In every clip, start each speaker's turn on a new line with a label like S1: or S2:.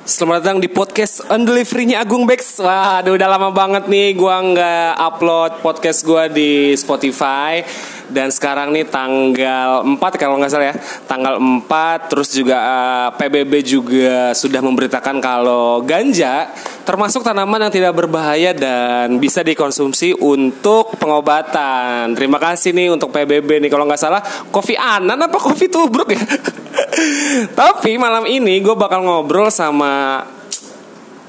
S1: Selamat datang di podcast on delivery-nya Agung Bex. Waduh, udah lama banget nih gua nggak upload podcast gua di Spotify. Dan sekarang nih tanggal 4 kalau nggak salah ya Tanggal 4 Terus juga eh, PBB juga sudah memberitakan kalau ganja Termasuk tanaman yang tidak berbahaya dan bisa dikonsumsi untuk pengobatan Terima kasih nih untuk PBB nih Kalau nggak salah Kofi Anan apa Kofi Tubruk ya Tapi malam ini gue bakal ngobrol sama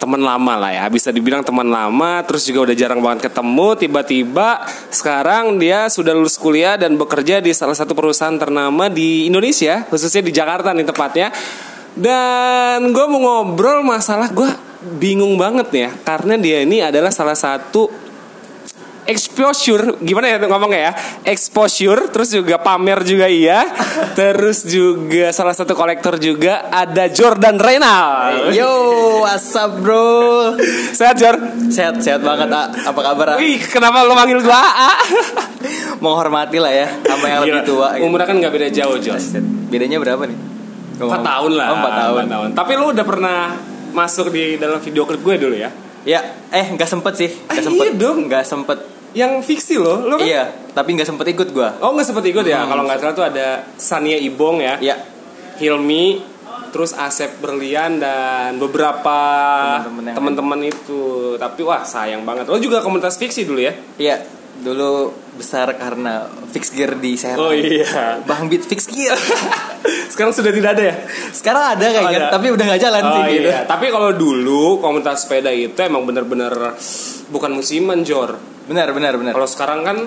S1: teman lama lah ya bisa dibilang teman lama terus juga udah jarang banget ketemu tiba-tiba sekarang dia sudah lulus kuliah dan bekerja di salah satu perusahaan ternama di Indonesia khususnya di Jakarta nih tepatnya dan gue mau ngobrol masalah gue bingung banget nih ya karena dia ini adalah salah satu exposure gimana ya ngomongnya ya exposure terus juga pamer juga iya terus juga salah satu kolektor juga ada Jordan Renal
S2: Yo, what's up bro?
S1: sehat Jor
S2: Sehat, sehat banget, A. Apa kabar, A?
S1: Wih, kenapa lo manggil gua A?
S2: Menghormati lah ya, sama yang lebih
S1: Gila,
S2: tua. gitu.
S1: Umurnya kan nggak beda jauh, Jor.
S2: Bedanya berapa nih?
S1: 4 tahun lah.
S2: Oh, 4 tahun.
S1: Empat Tapi lo udah pernah masuk di dalam video klip gue dulu ya.
S2: Ya, eh nggak sempet sih. Nggak
S1: Ah,
S2: sempet.
S1: iya dong.
S2: Nggak sempet.
S1: Yang fiksi lo, lo kan?
S2: Iya, tapi nggak sempet ikut gua.
S1: Oh, nggak sempat ikut ya.
S2: Hmm.
S1: Kalau nggak salah tuh ada Sania Ibong ya.
S2: Ya,
S1: Hilmi terus Asep Berlian dan beberapa
S2: Teman-teman yang
S1: teman-teman itu tapi wah sayang banget lo juga komunitas fiksi dulu ya
S2: iya. Dulu besar karena fix gear di
S1: oh
S2: Serang.
S1: iya
S2: Bang Beat fix gear.
S1: sekarang sudah tidak ada ya
S2: Sekarang ada kayaknya,
S1: Oh, Ada.
S2: tapi udah nggak jalan sih
S1: oh,
S2: gitu.
S1: iya. tapi kalau dulu komunitas sepeda itu emang bener-bener bukan musiman jor
S2: Benar, benar, benar.
S1: kalau sekarang kan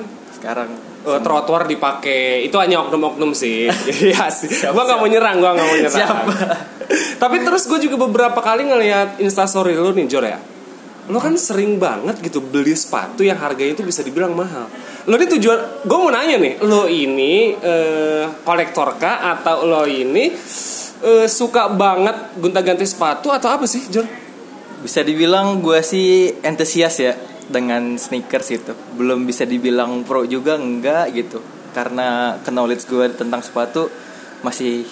S2: Sekarang
S1: eh, trotoar dipakai itu hanya oknum-oknum sih iya sih gue nggak mau nyerang gue nggak mau nyerang
S2: Siap.
S1: tapi terus gue juga beberapa kali ngelihat instastory lo nih Jor ya lo kan sering banget gitu beli sepatu yang harganya itu bisa dibilang mahal lo ini tujuan gue mau nanya nih lo ini eh, kolektor kah atau lo ini eh, suka banget gonta-ganti sepatu atau apa sih Jor
S2: Bisa dibilang gue sih antusias ya dengan sneakers itu. Belum bisa dibilang pro juga enggak gitu. Karena knowledge gue tentang sepatu masih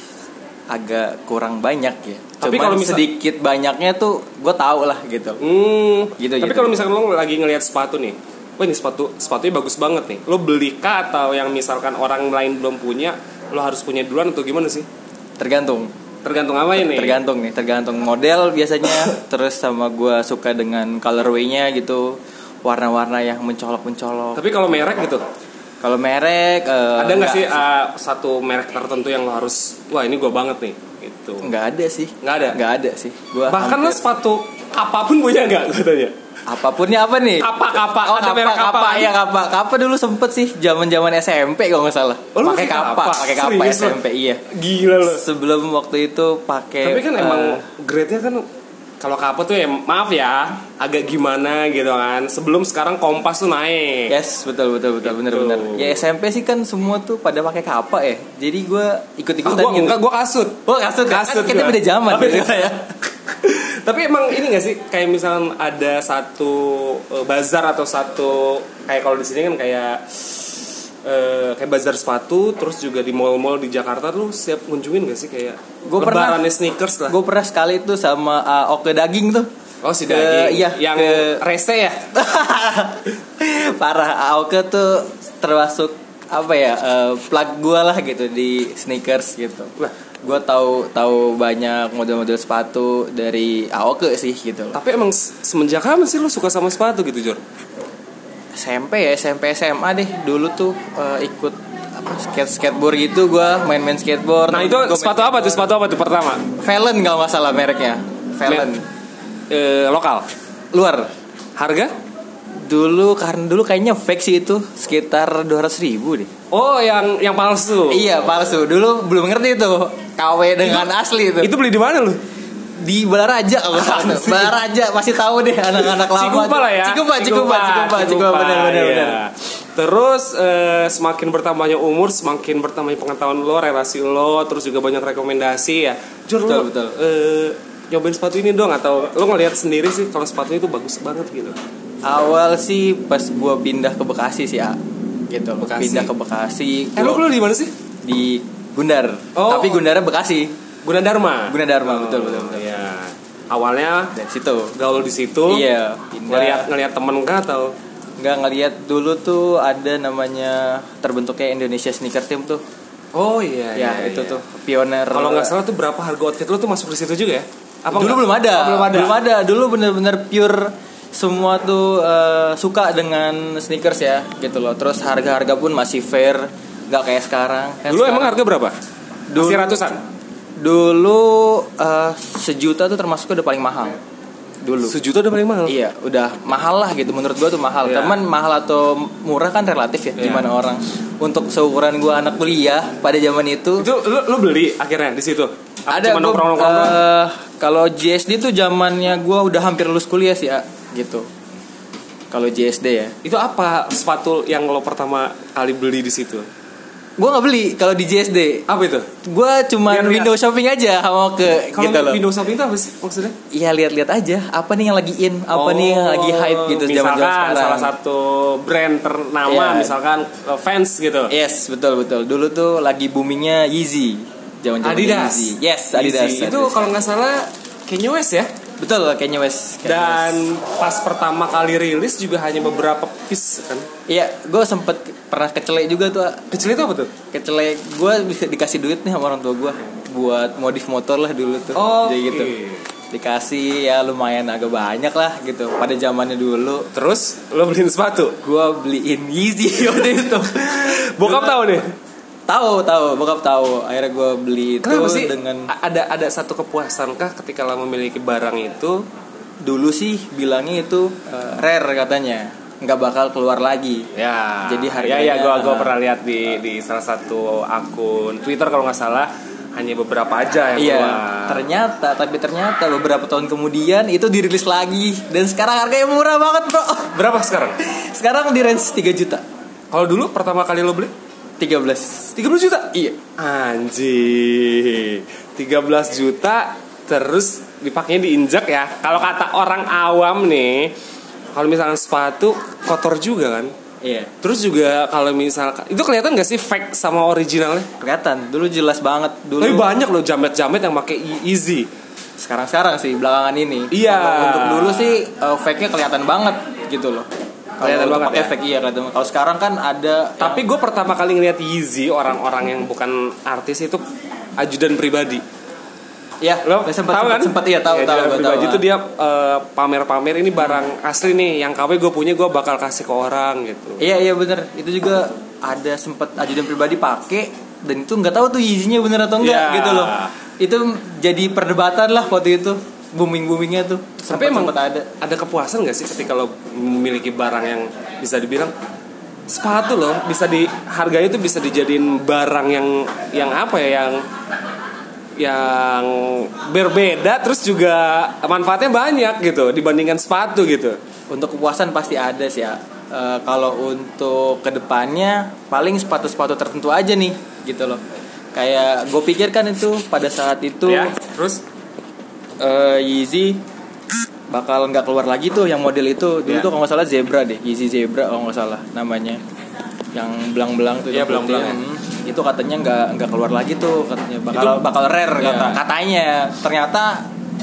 S2: agak kurang banyak ya.
S1: Tapi
S2: Tapi
S1: kalau
S2: kalau
S1: misal-
S2: sedikit banyaknya tuh gue tau lah gitu.
S1: Hmm,
S2: Gitu,
S1: Tapi
S2: gitu.
S1: kalau misalkan lo lagi ngelihat sepatu nih, wah ini sepatu sepatunya bagus banget nih. Lo beli kah atau yang misalkan orang lain belum punya, lo harus punya duluan atau gimana sih?
S2: Tergantung.
S1: Tergantung apa ini?
S2: Tergantung nih, tergantung model biasanya. Terus sama gue suka dengan colorway-nya gitu. Warna-warna yang mencolok-mencolok.
S1: Tapi kalau merek gitu,
S2: Eh, Kalau merek eh,
S1: ada nggak
S2: enggak
S1: sih uh, satu merek tertentu yang lo harus, wah ini gue banget nih, gitu.
S2: Enggak ada sih.
S1: Nggak ada?
S2: Enggak ada sih. Gua
S1: Bahkan lo
S2: hampir-
S1: sepatu apapun punya nggak? Gue tanya.
S2: Apapunnya apa nih?
S1: Apa apa?
S2: Oh,
S1: ada
S2: kapa,
S1: merek
S2: kapa,
S1: apa?
S2: ya kapa. Kapa dulu sempet sih, zaman zaman SMP kalau nggak salah.
S1: Oh, lu
S2: pakai
S1: pakai
S2: kapa,
S1: kapa?
S2: pakai kapa
S1: Serius lu?
S2: SMP iya.
S1: Gila lo.
S2: Sebelum waktu itu pakai.
S1: Tapi kan
S2: eh,
S1: emang grade-nya kan kalau kapal tuh ya maaf ya agak gimana gitu kan. Sebelum sekarang kompas tuh naik.
S2: eh, Yes, betul betul betul bener
S1: Gitu.
S2: bener. Ya SMP sih kan semua tuh pada pakai kapa ya. Jadi gue ikut
S1: Ah,
S2: ikutan
S1: gua
S2: gitu.
S1: enggak gua kasut.
S2: Oh kasut, ya?
S1: Kasut
S2: kan kita
S1: gua.
S2: beda zaman.
S1: Oh, beda
S2: gitu ya.
S1: Tapi emang ini gak sih kayak misalnya ada satu eh, bazar atau satu kayak kalau di sini kan kayak eh, kayak bazar sepatu terus juga di mall-mall di Jakarta lu siap kunjungin gak sih kayak
S2: Gua pernah-
S1: lebarannya sneakers lah.
S2: Gue pernah sekali tuh sama eh, Oke Daging tuh.
S1: oh si
S2: ke-
S1: Daging.
S2: iya,
S1: yang
S2: ke-
S1: rese ya.
S2: Parah, Aoke tuh termasuk apa ya eh, plug gua lah gitu di sneakers gitu.
S1: Wah.
S2: Gua tahu tahu banyak model-model sepatu dari Aoke sih gitu. loh.
S1: Tapi emang se- semenjak kapan sih lu suka sama sepatu gitu, Jor?
S2: SMP ya SMP SMA deh dulu tuh eh, ikut apa skate skateboard gitu gua main-main skateboard.
S1: Nah, itu
S2: Gua main
S1: sepatu apa tuh? Sepatu apa tuh pertama?
S2: Valen kalau nggak salah mereknya. Valen
S1: Eh, lokal.
S2: luar.
S1: Harga?
S2: Dulu karena dulu kayaknya fake sih itu sekitar 200.000 ribu deh.
S1: Oh, yang yang palsu.
S2: Iya palsu dulu belum ngerti tuh KW dengan asli itu.
S1: Itu beli di mana lu?
S2: di Balaraja kalau nggak salah tuh. Balaraja pasti tahu deh anak-anak lama.
S1: Oh, Cikupa
S2: tuh.
S1: lah ya.
S2: Cikupa, Cikupa, Cikupa, Cikupa, benar benar
S1: iya.
S2: benar.
S1: Terus eh, semakin bertambahnya umur, semakin bertambahnya pengetahuan lo, relasi lo, terus juga banyak rekomendasi ya. Jur
S2: Betul,
S1: lo,
S2: betul.
S1: eh, nyobain sepatu ini dong atau lo ngelihat sendiri sih kalau sepatunya itu bagus banget gitu.
S2: Awal sih pas gua pindah ke Bekasi sih, ya. Gitu,
S1: Bekasi.
S2: pindah ke Bekasi.
S1: Eh, lo lo
S2: gua
S1: di mana sih?
S2: di Gundar.
S1: Oh.
S2: Tapi Gundarnya Bekasi.
S1: Gunadarma.
S2: Gunadarma, betul, betul,
S1: Oh,
S2: betul.
S1: Iya. awalnya
S2: dari situ
S1: gaul di situ
S2: iya
S1: ngelihat
S2: pindah
S1: ngelihat temen kah atau
S2: nggak ngelihat dulu tuh ada namanya terbentuknya Indonesia sneaker team tuh
S1: oh iya
S2: ya itu tuh pioner
S1: kalau nggak salah tuh berapa harga outfit lo tuh masuk di situ juga ya apa
S2: dulu
S1: nggak?
S2: belum ada.
S1: Oh, belum ada
S2: Dulu bener-bener pure semua tuh eh, suka dengan sneakers ya gitu loh. Terus harga-harga pun masih fair, nggak kayak sekarang. Kan
S1: dulu
S2: sekarang-
S1: emang harga berapa
S2: Dulu-
S1: masih ratusan
S2: dulu eh, sejuta tuh termasuk udah paling mahal. Dulu.
S1: sejuta udah paling mahal
S2: Iya, udah mahal lah gitu menurut gua tuh mahal.
S1: Iya.
S2: Cuman mahal atau murah kan relatif ya
S1: Iya.
S2: gimana orang. Untuk seukuran gua anak kuliah pada zaman itu
S1: itu lo, lo beli akhirnya di situ Apa
S2: ada
S1: cuma
S2: gua,
S1: nongkrong nongkrong doang?
S2: eh, kalau JSD tuh zamannya gua udah hampir lulus kuliah sih ya gitu kalau JSD ya
S1: itu apa sepatu yang lo pertama kali beli di situ
S2: gua nggak beli kalau di JSD
S1: apa itu
S2: gua cuma
S1: Biar-
S2: window shopping aja mau ke
S1: kalau
S2: gitu loh
S1: window shopping itu apa sih maksudnya
S2: iya lihat-lihat aja apa nih yang lagi in apa nih yang lagi hype gitu zaman zaman
S1: Oh, misalkan
S2: sekarang
S1: salah satu brand ternama
S2: Iya.
S1: misalkan uh, fans gitu
S2: yes betul betul dulu tuh lagi boomingnya Yeezy zaman zaman
S1: Adidas
S2: yes Adidas
S1: Yeezy. itu
S2: Adidas.
S1: kalau nggak salah Kanye West ya
S2: betul kayaknya wes
S1: dan pas pertama kali rilis juga hanya beberapa piece kan
S2: iya gua sempet pernah kecelek juga tuh ah.
S1: kecil itu apa tuh
S2: kecelek gue bisa dikasih duit nih sama orang tua gue buat modif motor lah dulu tuh
S1: Oh,
S2: Jadi gitu
S1: iya.
S2: dikasih ya lumayan agak banyak lah gitu pada zamannya dulu
S1: terus lo beliin sepatu
S2: gue beliin Yeezy waktu itu
S1: bokap tahu nih
S2: tahu tahu bokap tahu akhirnya gue beli itu
S1: kenapa sih
S2: dengan
S1: A- ada ada satu kepuasan kah ketika lo memiliki barang itu
S2: dulu sih bilangnya itu eh, rare katanya nggak bakal keluar lagi
S1: Ya.
S2: Jadi
S1: ya
S2: harganya-
S1: ya gua gua pernah lihat di di salah satu akun Twitter kalau nggak salah hanya beberapa aja yang
S2: Iya,
S1: keluar.
S2: ternyata tapi ternyata beberapa tahun kemudian itu dirilis lagi dan sekarang harganya murah banget, Bro.
S1: Berapa sekarang?
S2: Sekarang di range 3 juta.
S1: Kalau dulu pertama kali lo beli
S2: 13.
S1: 30 juta.
S2: Iya.
S1: Anjir. 13 juta terus dipakainya diinjak ya. Kalau kata orang awam nih, kalau misalkan sepatu kotor juga kan.
S2: Iya.
S1: Terus juga kalau misalkan itu kelihatan nggak sih fake sama originalnya?
S2: Kelihatan dulu jelas banget dulu.
S1: Tapi banyak loh jamet-jamet yang pakai easy.
S2: Sekarang-sekarang sih belakangan ini.
S1: Iya.
S2: Kalau Untuk dulu sih eh, fake-nya kelihatan banget gitu loh. Kalau
S1: Kelihatan
S2: untuk
S1: banget ya?
S2: pakai fake iya kelihatan. banget. Kalau sekarang kan ada
S1: Tapi gue pertama kali ngeliat Yeezy orang-orang yang bukan artis itu ajudan pribadi.
S2: ya
S1: Lo
S2: sempat
S1: tahu
S2: sempat,
S1: kan?
S2: sempat iya
S1: Ya,
S2: tahu tahu
S1: ajudan
S2: gua
S1: pribadi
S2: tahu.
S1: itu dia eh, pamer-pamer ini barang asli nih yang KW gue punya gue bakal kasih ke orang gitu.
S2: Iya iya bener Itu juga ada sempat ajudan pribadi pakai dan itu nggak tahu tuh izinnya bener atau enggak
S1: Iya.
S2: gitu loh. Itu jadi perdebatan lah waktu itu booming boomingnya tuh.
S1: Tapi emang
S2: sempat ada.
S1: ada kepuasan gak sih ketika lo memiliki barang yang bisa dibilang sepatu loh bisa di harganya itu bisa dijadiin barang yang yang apa ya yang yang berbeda terus juga manfaatnya banyak gitu dibandingkan sepatu gitu.
S2: Untuk kepuasan pasti ada sih ya. Eh, kalau untuk kedepannya paling sepatu-sepatu tertentu aja nih gitu loh. Kayak gue pikir kan itu pada saat itu
S1: Ya, terus
S2: eh, Yeezy bakal nggak keluar lagi tuh yang model itu dulu
S1: Ya.
S2: tuh kalau nggak salah zebra deh Yeezy zebra kalau nggak salah namanya yang belang-belang tuh
S1: Iya,
S2: yang putih.
S1: belang-belang ya.
S2: Hmm, itu katanya nggak nggak keluar lagi tuh katanya bakal bakal rare
S1: Iya.
S2: kata katanya ternyata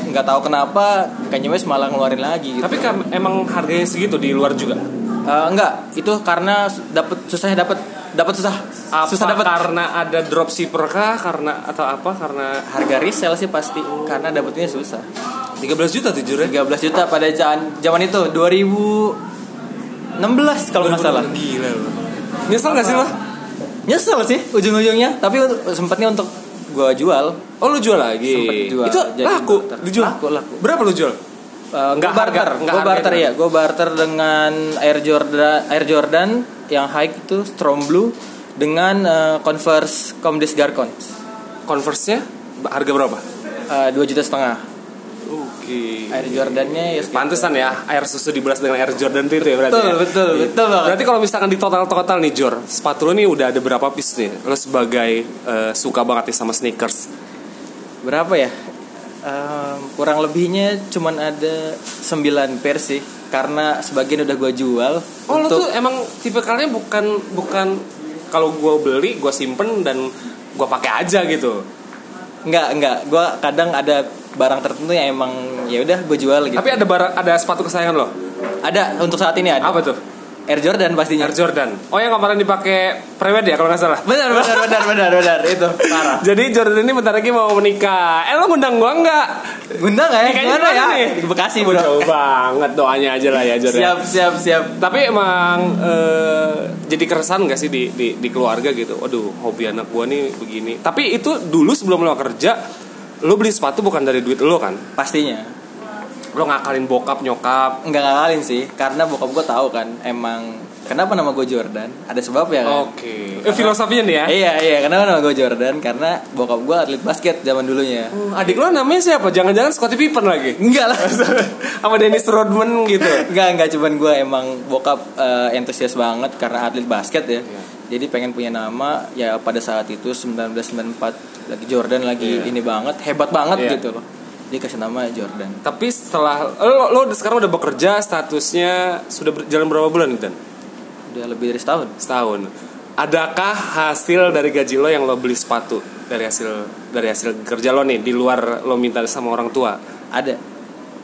S2: nggak tahu kenapa Kanye West malah ngeluarin lagi gitu.
S1: Tapi kan emang harganya segitu di luar juga.
S2: Eh, enggak itu karena dapat susahnya dapat dapat ya susah
S1: Apa
S2: susah dapat
S1: karena ada dropshipper kah karena atau apa karena
S2: harga resell sih pasti karena dapetnya susah
S1: 13 juta tuh jurnya.
S2: 13 juta pada zaman zaman itu 2016 kalau nggak salah
S1: Gila loh. Nyesel gak sih lo?
S2: nyesel sih ujung-ujungnya tapi untuk- sempatnya untuk gua jual
S1: Oh lu jual lagi.
S2: Sempet dijual,
S1: Itu
S2: jadi
S1: laku,
S2: barter.
S1: dijual.
S2: Laku, laku.
S1: Berapa lu jual?
S2: Eh,
S1: Nggak
S2: gua
S1: harga,
S2: barter
S1: nggak
S2: gua
S1: harga
S2: barter
S1: itu.
S2: ya gua barter dengan Air Jordan Air Jordan yang high itu Storm Blue dengan eh, Converse Comdes Garcon
S1: Converse-nya ba- harga berapa?
S2: Eh, dua juta setengah
S1: Oke.
S2: Air Jordannya ya sekitar-
S1: Pantesan ya, air susu dibalas dengan air Jordan itu, itu ya berarti.
S2: Betul,
S1: ya?
S2: betul,
S1: Iya.
S2: betul banget.
S1: Berarti kalau misalkan di total-total nih Jor, sepatu lu nih udah ada berapa piece nih? Lo sebagai eh, suka banget nih sama sneakers.
S2: berapa ya Em, kurang lebihnya cuman ada 9 pair sih karena sebagian udah gua jual
S1: Oh lo tuh
S2: untuk
S1: emang tipikalnya bukan bukan kalau gue beli gue simpen dan gue pakai aja gitu.
S2: Enggak, enggak. Gua kadang ada barang tertentu yang emang ya udah gue jual gitu.
S1: Tapi ada barang, ada sepatu kesayangan lo.
S2: ada untuk saat ini ada.
S1: Apa tuh?
S2: Air Jordan pastinya.
S1: Air Jordan. Oh yang kemarin dipakai prewed ya kalau nggak salah.
S2: Benar benar benar benar benar itu parah.
S1: Jadi Jordan ini bentar lagi mau menikah. Eh lo ngundang gua nggak? Eh,
S2: Bunda nggak ya?
S1: Kayaknya
S2: Gimana
S1: gimana
S2: ya?
S1: nih?
S2: Di Bekasi
S1: Udah
S2: bro.
S1: jauh banget doanya aja lah ya Jordan.
S2: Siap siap siap.
S1: Tapi emang eh, jadi keresahan gak sih di, di, di keluarga gitu? Aduh, hobi anak gua nih begini. Tapi itu dulu sebelum lo kerja, lo beli sepatu bukan dari duit lo kan?
S2: Pastinya.
S1: Lo ngakalin bokap nyokap.
S2: Nggak ngakalin sih, karena bokap gue tahu kan emang kenapa nama gue Jordan? Ada sebab ya kan?
S1: Oke. Eh, filosofinya nih ya.
S2: Iya iya, kenapa nama gue Jordan? Karena bokap gue atlet basket zaman dulunya.
S1: Hmm, Adik lo namanya siapa? Jangan-jangan Scottie Pippen lagi?
S2: Enggak lah.
S1: Sama Dennis Rodman gitu.
S2: Enggak, enggak cuman gue emang bokap eh, antusias banget karena atlet basket ya. Jadi pengen punya nama ya pada saat itu 1994 lagi Jordan lagi ini banget, hebat banget
S1: Iya.
S2: gitu loh. Dia kasih nama Jordan.
S1: Tapi setelah eh, lo, lo sekarang udah bekerja, statusnya sudah berjalan berapa bulan Dan?
S2: Udah lebih dari setahun.
S1: Setahun. Adakah hasil dari gaji lo yang lo beli sepatu dari hasil dari hasil kerja lo nih di luar lo minta sama orang tua?
S2: Ada.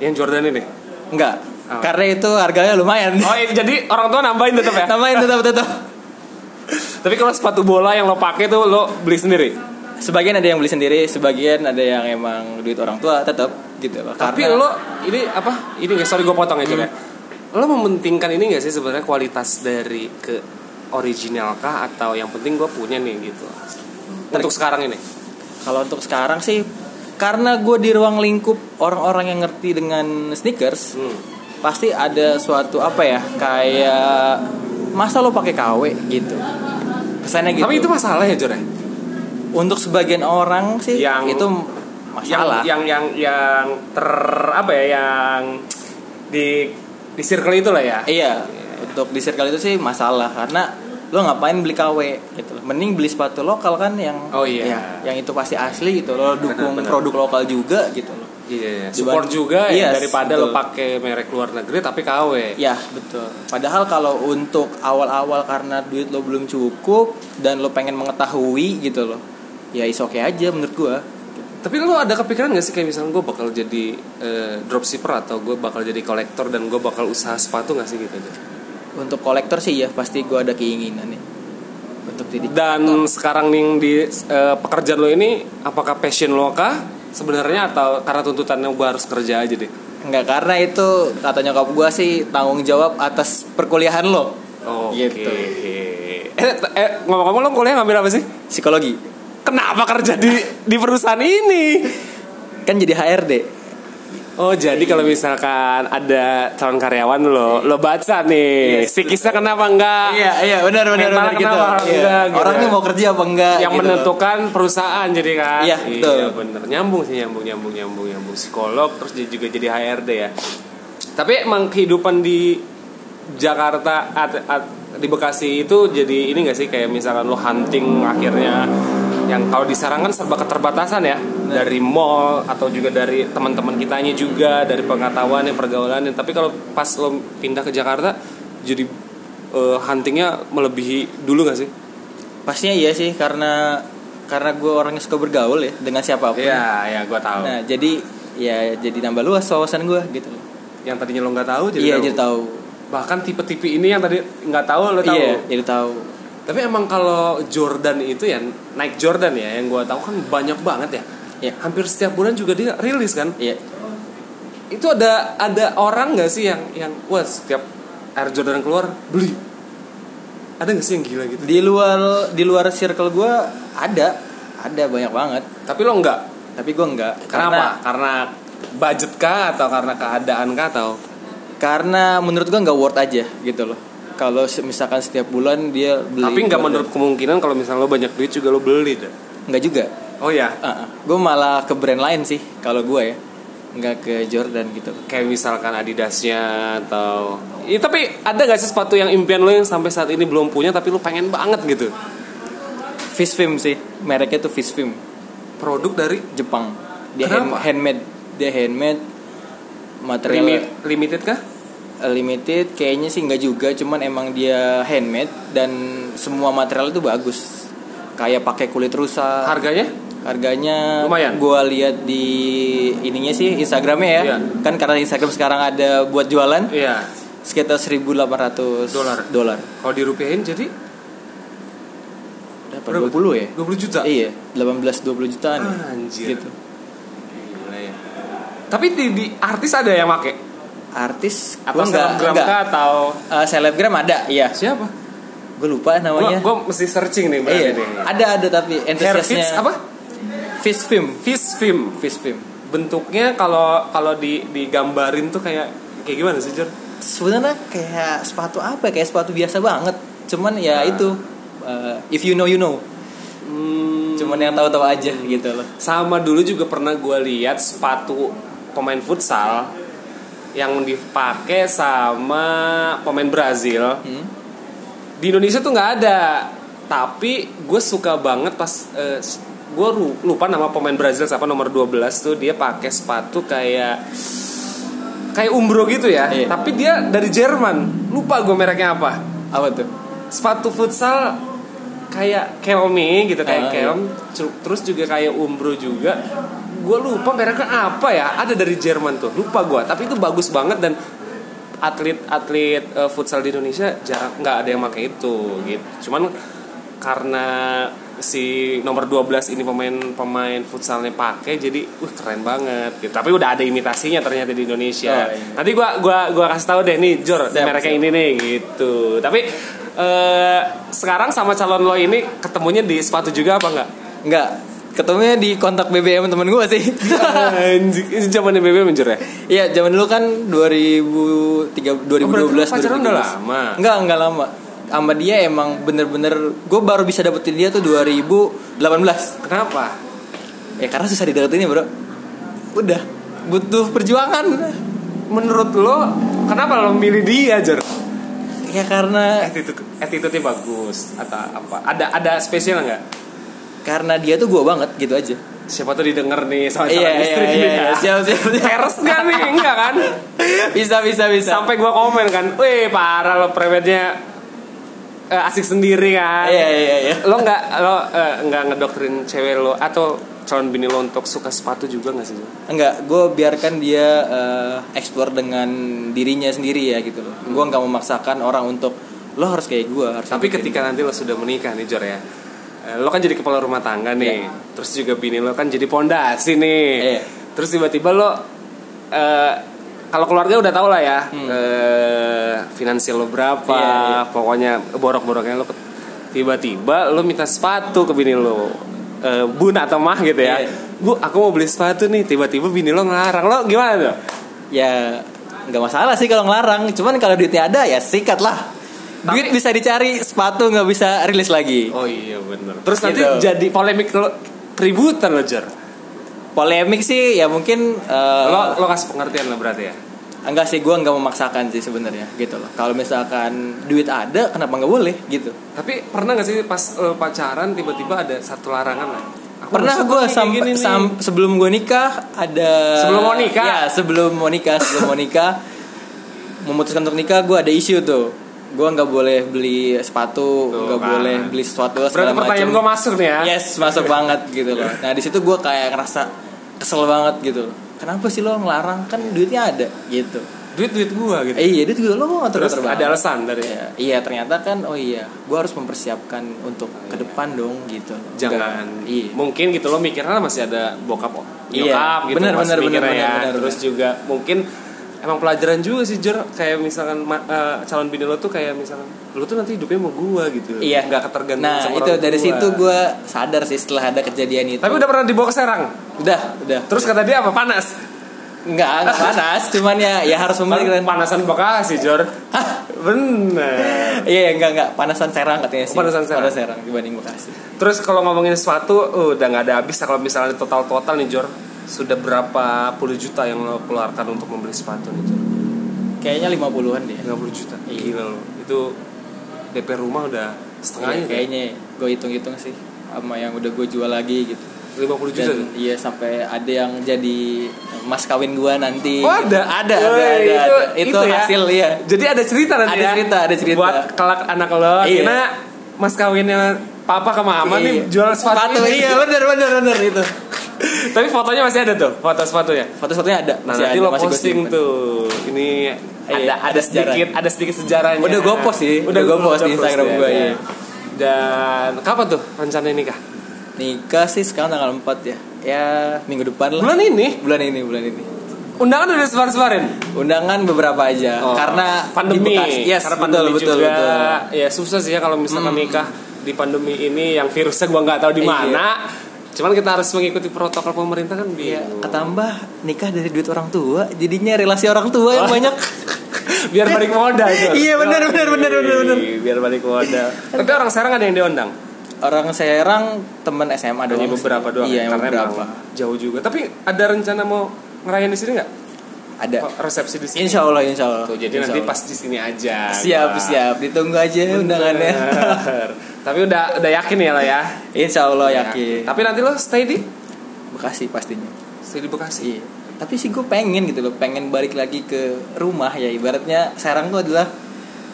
S1: Yang Jordan ini.
S2: Enggak.
S1: Apa?
S2: Karena itu harganya lumayan.
S1: Oh, iya, jadi orang tua nambahin tetap ya.
S2: Namain tetap tetap.
S1: Tapi kalau sepatu bola yang lo pakai tuh lo beli sendiri.
S2: Sebagian ada yang beli sendiri, sebagian ada yang emang duit orang tua tetap gitu loh.
S1: Tapi
S2: Karena-
S1: lo ini apa? Ini nggak sorry gue potong aja ya. Lo mementingkan ini nggak sih sebenarnya kualitas dari ke originalkah atau yang penting gue punya nih gitu. Untuk sekarang ini.
S2: Kalau untuk sekarang sih karena gue di ruang lingkup orang-orang yang ngerti dengan sneakers,
S1: Hmm.
S2: pasti ada suatu apa ya kayak masa lo pakai KW gitu. Kesannya gitu.
S1: Tapi itu masalah ya Joran.
S2: untuk sebagian orang sih
S1: Yang-
S2: itu masalah.
S1: Yang yang yang yang ter apa ya yang di di circle itulah ya.
S2: Iya, untuk di circle itu sih masalah karena lo ngapain beli KW gitu loh. Mending beli sepatu lokal kan yang
S1: Oh, iya.
S2: ya, yang itu pasti asli gitu lo dukung produk lokal juga gitu loh.
S1: Iya, support juga ya
S2: Yes,
S1: daripada lo
S2: betul.
S1: pakai merek luar negeri tapi KW.
S2: Ya betul. Padahal kalau untuk awal-awal karena duit lo belum cukup dan lo pengen mengetahui gitu loh, ya is okay aja menurut gua.
S1: Tapi lo ada kepikiran gak sih kayak misalnya gue bakal jadi eh, dropshipper atau gue bakal jadi kolektor dan gue bakal usaha sepatu gak sih gitu?
S2: Untuk kolektor sih ya pasti gua ada keinginan nih untuk jadi.
S1: Dan sekarang nih di eh, pekerjaan lo ini apakah passion lo kah sebenarnya atau karena tuntutan yang gue harus kerja aja deh?
S2: Enggak karena itu kata nyokap gua sih tanggung jawab atas perkuliahan lo
S1: Oke.
S2: Gitu.
S1: Eh, t- eh, ngomong-ngomong lo kuliah ngambil apa sih?
S2: psikologi
S1: Kenapa kerja di di perusahaan ini?
S2: kan jadi HRD.
S1: Oh jadi kalau misalkan ada calon karyawan lo, lo baca nih,
S2: Yes.
S1: psikisnya kenapa enggak?
S2: Iya iya benar benar
S1: Mental
S2: benar gitu.
S1: kenapa orang
S2: Iya.
S1: enggak, gitu.
S2: Orang tuh mau kerja apa enggak?
S1: Yang
S2: gitu.
S1: menentukan perusahaan jadi kan?
S2: Iya, betul.
S1: Iya bener, nyambung sih nyambung nyambung nyambung nyambung psikolog terus dia juga jadi HRD ya. Tapi emang kehidupan di Jakarta at- at- di Bekasi itu jadi ini gak sih kayak misalkan lo hunting akhirnya yang kalau di Serang kan serba keterbatasan ya dari mall atau juga dari teman-teman kitanya juga dari pengetahuannya pergaulannya tapi kalau pas lo pindah ke Jakarta jadi eh, huntingnya melebihi dulu gak sih?
S2: Pastinya iya sih karena karena gue orangnya suka bergaul ya dengan siapapun.
S1: Iya, ya gue tahu.
S2: Nah jadi ya jadi nambah luas wawasan gue gitu. loh.
S1: yang tadinya lo nggak tahu jadi
S2: Iya
S1: tahu.
S2: jadi tahu.
S1: bahkan tipe-tipe ini yang tadi nggak tahu lo tahu
S2: Iya jadi tahu.
S1: tapi emang kalau Jordan itu ya naik Jordan ya yang gue tahu kan banyak banget ya
S2: Iya.
S1: hampir setiap bulan juga dia rilis kan
S2: Iya.
S1: itu ada ada orang nggak sih yang yang wah setiap Air Jordan keluar beli ada nggak sih yang gila gitu
S2: Di luar di luar circle gue ada ada banyak banget.
S1: tapi lo nggak
S2: Tapi gue enggak.
S1: kenapa karena budget kah atau karena keadaan kah atau
S2: Karena, karena menurut gue nggak worth aja gitu loh. Kalau se- misalkan setiap bulan dia beli.
S1: tapi nggak menurut kemungkinan kalau misalnya lo banyak duit juga lo beli deh
S2: Nggak juga.
S1: oh ya
S2: Gue Ah, malah ke brand lain sih kalau gue ya. Nggak ke Jordan gitu.
S1: kayak misalkan Adidasnya atau Ih, tapi ada gak sih sepatu yang impian lo yang sampai saat ini belum punya tapi lo pengen banget gitu
S2: Fish film sih. Mereknya tuh Fish film.
S1: produk dari
S2: Jepang. Dia
S1: Kenapa?
S2: hand- handmade. Dia handmade. Material
S1: Limi- limited kah
S2: limited kayaknya sih nggak juga, cuman emang
S1: Ah.
S2: dia handmade dan semua material itu bagus. Kayak pakai kulit rusa.
S1: harganya
S2: Harganya
S1: Lumayan.
S2: gua lihat di ininya sih Instagramnya ya.
S1: Iya.
S2: Kan karena Instagram sekarang ada buat jualan
S1: Iya.
S2: sekitar 1.800
S1: Dolar.
S2: Dolar.
S1: Kalau dirupiahin jadi
S2: Berapa?
S1: Berapa?
S2: 20 ya?
S1: 20 juta.
S2: Iya, 18 20 jutaan. ya.
S1: Anjir.
S2: Gitu.
S1: Gila ya. Tapi di, di artis ada yang make
S2: Artis
S1: atau
S2: gua enggak
S1: selebgram
S2: enggak.
S1: kah atau
S2: Eh, selebgram ada, iya.
S1: siapa?
S2: Gue lupa
S1: Gua,
S2: namanya.
S1: gua mesti searching nih berarti
S2: iya,
S1: nih.
S2: ada ada tapi
S1: Hair Fits
S2: entusiasnya
S1: apa?
S2: Fish film,
S1: Fist film.
S2: fish film.
S1: Bentuknya kalau kalau di digambarin tuh kayak kayak gimana sih Jor?
S2: sebenarnya kayak sepatu apa ya? kayak sepatu biasa banget cuman ya
S1: Nah.
S2: itu uh, if you know you know
S1: Hmm,
S2: cuman yang tahu-tahu aja gitu loh
S1: sama dulu juga pernah gua lihat sepatu pemain futsal yang dipakai sama pemain Brazil.
S2: Hmm.
S1: di Indonesia tuh nggak ada tapi gue suka banget pas eh, gue lupa nama pemain Brazil siapa nomor 12 tuh dia pakai sepatu kayak kayak umbro gitu ya
S2: Iya.
S1: tapi dia dari Jerman lupa gue mereknya apa
S2: apa tuh
S1: sepatu futsal kayak Kelme gitu kayak
S2: Ah,
S1: Kelm Cu- terus juga kayak umbro juga gue lupa mereknya apa ya ada dari Jerman tuh lupa gue tapi itu bagus banget dan atlet-atlet eh, futsal di Indonesia jarang nggak ada yang pakai itu gitu cuman karena si nomor 12 ini pemain pemain futsalnya pakai jadi wah keren banget gitu. tapi udah ada imitasinya ternyata di Indonesia
S2: Oh, iya.
S1: nanti gua gua gua kasih tahu deh nih Jor
S2: Siap,
S1: mereknya ini nih gitu tapi eh, sekarang sama calon lo ini ketemunya di sepatu juga apa enggak
S2: nggak ketemunya di kontak BBM temen gue sih
S1: anjing ini zamannya BB menjur ya
S2: Iya zaman dulu kan 2003 2012
S1: Oh, berarti lu pacaran udah
S2: 2013.
S1: lama.
S2: Nggak nggak lama sama dia emang bener-bener gue baru bisa dapetin dia tuh 2018
S1: kenapa
S2: ya karena susah dideketin ya bro udah butuh perjuangan
S1: menurut lo kenapa lo milih dia Jor
S2: ya karena
S1: attitude attitude-nya bagus atau apa ada ada spesial nggak
S2: karena dia tuh gue banget gitu aja
S1: siapa tuh didengar nih sama calon
S2: iya iya
S1: istri
S2: iya,
S1: dia.
S2: iya. siap siap siap.
S1: Keres nggak nih enggak kan
S2: bisa bisa bisa
S1: sampai gua komen kan weh parah lo prewednya eh, asik sendiri kan
S2: iya iya iya
S1: lo nggak lo eh, nggak ngedoktrin cewek lo atau calon bini lo untuk suka sepatu juga nggak sih
S2: enggak gue biarkan dia eh, explore dengan dirinya sendiri ya gitu loh gue nggak memaksakan orang untuk lo harus kayak gue harus
S1: tapi
S2: kayak
S1: ketika nanti lo sudah menikah nih Jor ya eh, lo kan jadi kepala rumah tangga nih terus juga bini lo kan jadi pondasi nih
S2: Iya.
S1: terus tiba-tiba lo eh, kalau keluarga udah tau lah ya eh, finansial lo berapa
S2: Iya, iya.
S1: pokoknya borok-boroknya lo ke- tiba-tiba lo minta sepatu ke bini lo Eh, bun atau mah gitu ya
S2: Iya.
S1: bu aku mau beli sepatu nih tiba-tiba bini lo ngelarang lo gimana tuh
S2: gini. ya nggak masalah sih kalau ngelarang cuman kalau duitnya ada ya sikat lah duit bisa dicari sepatu nggak bisa rilis lagi
S1: Oh iya bener Terus
S2: Gitu.
S1: nanti jadi polemik lo keributan lo Jer.
S2: polemik sih ya mungkin eh,
S1: Lo lo kasih pengertian lo berarti ya.
S2: Enggak sih, gue nggak memaksakan sih sebenarnya gitu loh. Kalau misalkan duit ada, kenapa nggak boleh gitu?
S1: Tapi pernah gak sih pas lo pacaran tiba-tiba ada satu larangan lah? Aku
S2: Pernah
S1: nggak suka
S2: gue
S1: nih kayak gini
S2: sampai
S1: nih.
S2: sam- sebelum gue nikah ada
S1: Sebelum mau nikah?
S2: Ya sebelum mau nikah, sebelum mau nikah memutuskan untuk nikah gue ada isu tuh. Gue nggak boleh beli sepatu,
S1: Tuh,
S2: nggak
S1: kan.
S2: boleh beli sesuatu
S1: Berarti
S2: segala
S1: pertanyaan gue
S2: macam.
S1: masuk nih ya. Iya.
S2: Yes, masuk banget gitu loh. Nah di situ gue kayak ngerasa kesel banget gitu. loh. Kenapa sih lo ngelarang kan duitnya ada gitu?
S1: Duit duit gue gitu.
S2: Eh, iya duit gue lo mau ngatur
S1: Terus ada alasan dari
S2: Ya, iya ternyata kan oh iya gue harus mempersiapkan untuk ke depan dong gitu
S1: Iya. jangan.
S2: Nggak, iya
S1: Mungkin gitu lo mikirnya masih ada bokap nyokap
S2: Iya.
S1: gitu
S2: Bener,
S1: masih
S2: bener,
S1: mikirnya
S2: bener,
S1: ya.
S2: bener, bener,
S1: Terus juga mungkin emang pelajaran juga sih Jer kayak misalkan ma- eh, calon bini lo tuh kayak misalkan lo tuh nanti hidupnya mau gua gitu.
S2: iya
S1: Nggak ketergantungan
S2: nah
S1: sama
S2: itu
S1: orang
S2: dari
S1: tua.
S2: situ gue sadar sih setelah ada kejadian itu
S1: Tapi udah pernah dibawa ke Serang.
S2: udah udah
S1: Terus kata dia apa? Panas.
S2: nggak nggak panas cuman ya ya harus memilih kan
S1: Panasan Bekasi, Jor. Bener.
S2: iya nggak nggak panasan serang katanya sih
S1: Panasan Serang.
S2: Panasan serang dibanding bekasi
S1: Terus kalau ngomongin sesuatu uh, udah nggak ada habis kalau misalnya total-total nih, Jor. Sudah berapa puluh juta yang lo keluarkan untuk membeli sepatu nih, Jor?
S2: kayaknya 50-an deh
S1: 50 juta.
S2: Iya.
S1: Gila lo. Itu DP rumah udah setengahnya
S2: Iya, kayaknya gue hitung-hitung sih sama yang udah gue jual lagi gitu
S1: kan? 50 juta. tuh.
S2: dan iya sampai ada yang jadi mas kawin gua nanti gitu.
S1: Oh, ada?
S2: ada ada,
S1: Woi,
S2: ada,
S1: itu-
S2: ada. itu,
S1: itu ya.
S2: hasil iya
S1: Jadi ada cerita nanti
S2: Ada
S1: ya?
S2: cerita, ada cerita.
S1: Buat kelak anak lo,
S2: Iya.
S1: Tina, mas kawinnya Papa ke Mama
S2: Iya.
S1: nih jual sepatu.
S2: Sepatu, iya bener bener bener itu.
S1: Tapi fotonya masih ada tuh, foto sepatunya.
S2: Foto sepatunya ada.
S1: Nah,
S2: masih
S1: nanti
S2: ada,
S1: lo
S2: masih gua
S1: posting
S2: simpen.
S1: tuh. Ini ada
S2: Iya,
S1: ada
S2: ada sejarah.
S1: sedikit ada sedikit sejarahnya.
S2: Udah gua post sih, udah gua post di Instagram
S1: ya,
S2: gua,
S1: ya.
S2: iya.
S1: Dan kapan tuh rencana nikah?
S2: Nikah sih sekarang tanggal 4 ya. Ya minggu depan lah.
S1: Bulan ini
S2: Bulan ini, bulan ini.
S1: undangan udah sebar-sebarin.
S2: Undangan beberapa aja
S1: Oh.
S2: karena
S1: pandemi,
S2: dibekas. Yes,
S1: karena pandemi
S2: betul, betul,
S1: juga
S2: betul. Hmm.
S1: ya susah sih ya kalau misalkan nikah di pandemi ini yang virusnya gua nggak tahu di
S2: Iya.
S1: mana. Cuman kita harus mengikuti protokol pemerintah kan
S2: Iya,
S1: biar
S2: ketambah nikah dari duit orang tua, jadinya relasi orang tua yang
S1: Oh.
S2: banyak.
S1: biar balik modal. Jor.
S2: Iya, benar, benar, benar, benar, benar.
S1: Biar balik modal. Tapi orang sekarang ada yang diundang.
S2: Orang Serang temen SMA doang.
S1: Hanya
S2: sih.
S1: beberapa doang. ya,
S2: Iya,
S1: karena
S2: beberapa.
S1: emang jauh juga. Tapi ada rencana mau ngerayain di sini nggak?
S2: Ada.
S1: Resepsi di sini.
S2: Iya. Insya Allah, insya Allah.
S1: Tuh, jadi
S2: Insya
S1: nanti
S2: Allah.
S1: pas di sini aja.
S2: siap
S1: Wah.
S2: siap ditunggu aja undangannya.
S1: Bener. Tapi udah udah yakin ya lo ya.
S2: insya Allah
S1: Iya.
S2: yakin.
S1: Tapi nanti lo stay di
S2: Bekasi pastinya.
S1: stay di Bekasi.
S2: Iya. Tapi sih gue pengen gitu loh, pengen balik lagi ke rumah ya. Ibaratnya Serang tuh adalah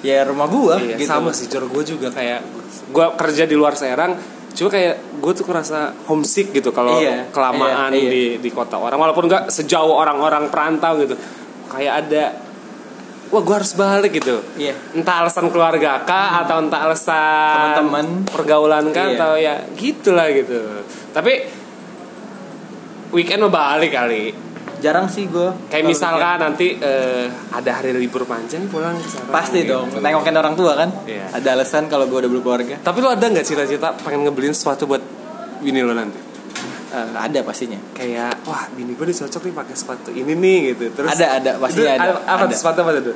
S2: ya rumah gue.
S1: Iya,
S2: gitu.
S1: sama sih Jor gue juga kayak gue kerja di luar Serang cuma kayak gue tuh kerasa homesick gitu kalau
S2: Iya,
S1: kelamaan
S2: iya, iya.
S1: di di kota orang walaupun gak sejauh orang-orang perantau gitu kayak ada wah gue harus balik gitu
S2: Iya.
S1: entah alasan keluarga kah atau entah alasan
S2: Teman-teman.
S1: pergaulan kah
S2: Iya.
S1: atau ya gitulah gitu tapi weekend mau balik kali
S2: Jarang sih gue.
S1: kayak misalkan nanti eh, ada hari libur panjang pulang ke Serang
S2: Pasti
S1: gitu.
S2: dong, nengokin orang tua kan.
S1: Iya.
S2: Ada alasan kalau gue udah berkeluarga.
S1: Tapi lo ada nggak cita-cita pengen ngebeliin sesuatu buat bini lo nanti?
S2: Eh, ada pastinya.
S1: Kayak wah bini gue udah cocok nih pakai sepatu ini nih gitu. Terus
S2: Ada, ada, pastinya
S1: Itu
S2: ada,
S1: a- Apa
S2: ada.
S1: tuh, sepatu apa tuh?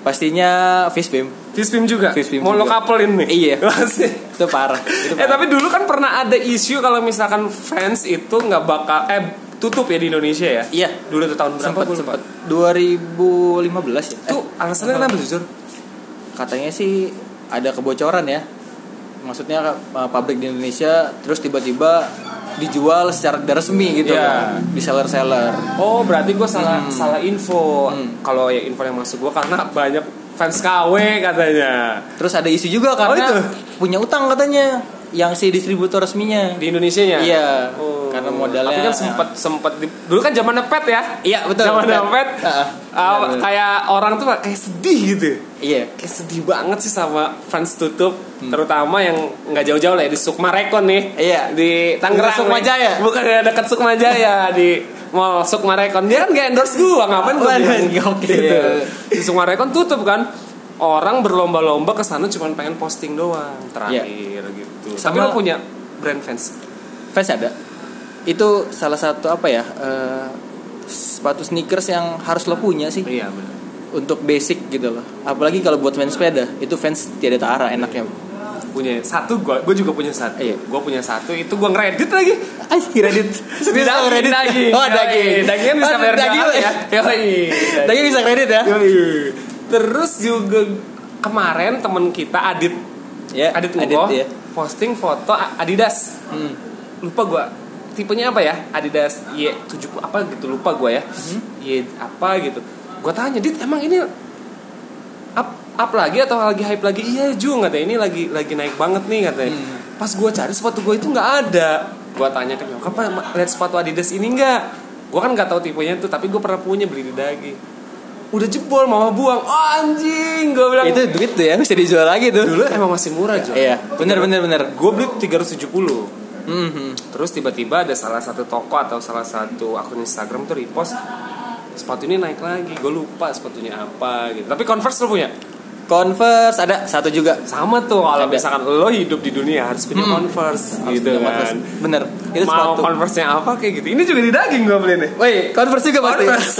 S2: Pastinya face beam.
S1: Vispim juga.
S2: Vispim
S1: Mau lo
S2: juga.
S1: kapelin nih.
S2: Iya.
S1: Masih.
S2: Itu parah.
S1: Eh
S2: Itu parah.
S1: tapi dulu kan pernah ada isu kalau misalkan fans itu nggak bakal eh tutup ya di Indonesia ya.
S2: Iya.
S1: Dulu tuh tahun berapa?
S2: sempat
S1: gue lupa.
S2: sempat 2015 ya.
S1: Itu
S2: Eh,
S1: alasannya kenapa jujur?
S2: katanya sih ada kebocoran ya. Maksudnya eh, pabrik di Indonesia terus tiba-tiba dijual secara tidak resmi gitu
S1: Iya.
S2: kan. Di seller-seller.
S1: Oh berarti gue salah
S2: Hmm.
S1: salah info kalau ya info yang masuk gue karena banyak fans KW katanya
S2: Terus ada isu juga
S1: Oh, itu?
S2: karena punya utang katanya yang si distributor resminya.
S1: di Indonesia ya
S2: Iya.
S1: Oh.
S2: Karena modalnya-
S1: Tapi kan sempat sempat di- dulu kan zamannya pet ya.
S2: Iya, betul. Iya,
S1: Zaman
S2: Betul.
S1: pet.
S2: Heeh.
S1: ah,
S2: Benar, benar.
S1: kayak orang tuh kayak sedih gitu.
S2: Iya.
S1: Kayak sedih banget sih sama fans tutup,
S2: Hmm.
S1: terutama yang nggak jauh-jauh lah ya, di Sukma Rekon nih.
S2: Iya.
S1: Di Tangerang.
S2: Bukan Sukma
S1: nih.
S2: Jaya.
S1: Bukan ya dekat Sukma Jaya di Mall Sukma Rekon. Dia kan gak endorse gua, ngapain gua
S2: Waduh,
S1: bilang
S2: gokil.
S1: gitu. Di Sukma Rekon tutup kan. Orang berlomba-lomba ke sana cuma pengen posting doang terakhir gitu. Tapi
S2: Iya. Sama-
S1: lo punya brand fans
S2: Fans ada. Itu salah satu apa ya? eh, sepatu sneakers yang harus lo punya sih
S1: Iya benar.
S2: untuk basic gitu loh. Apalagi kalau buat fans sepeda, itu fans tiada tara enaknya.
S1: Punya satu gue, gue juga punya satu.
S2: Iya.
S1: Gue punya satu itu gue ngeredit lagi.
S2: Ah, Reddit. Bisa
S1: Daging,
S2: Reddit.
S1: daging.
S2: Oh,
S1: Yoi,
S2: daging.
S1: Daging kan bisa
S2: Oh,
S1: bayar
S2: daging
S1: jalan
S2: lo ya.
S1: ya. Yoi.
S2: Daging bisa kredit ya?
S1: Yoi. Terus juga kemarin temen kita Adit,
S2: Ya,
S1: Adit Ugo,
S2: ya.
S1: posting foto A- Adidas.
S2: Hmm.
S1: Lupa gue tipenya apa ya? Adidas Y70 apa gitu lupa gue ya.
S2: Mhm.
S1: Y apa gitu. Gue tanya Dit emang ini up up lagi atau lagi hype lagi? Iya Jung katanya ini lagi lagi naik banget nih katanya.
S2: Mhm.
S1: Pas gue cari sepatu gue itu nggak ada. Gue tanya ke nyokap, "Ma, ma- lihat sepatu Adidas ini nggak? Gue kan nggak tahu tipenya tuh, tapi gue pernah punya beli di Dagi. Udah jebol, mama buang. Oh anjing, gue bilang.
S2: Itu duit tuh ya bisa dijual lagi tuh.
S1: dulu emang masih murah Jo.
S2: Iya, bener bener bener.
S1: Gue beli 370
S2: Mhm.
S1: Terus tiba-tiba ada salah satu toko atau salah satu akun Instagram tuh repost sepatu ini naik lagi. Gue lupa sepatunya apa gitu. Tapi Converse lo punya?
S2: Converse ada satu juga.
S1: sama tuh kalau Hmm.
S2: Ada.
S1: misalkan lo hidup di dunia harus punya converse
S2: Harus
S1: gitu
S2: punya
S1: kan
S2: Converse. Bener. Itu
S1: mau
S2: sepatu.
S1: converse nya apa kayak gitu ini juga di daging gue beli nih
S2: Woi, Converse juga pasti.
S1: Converse.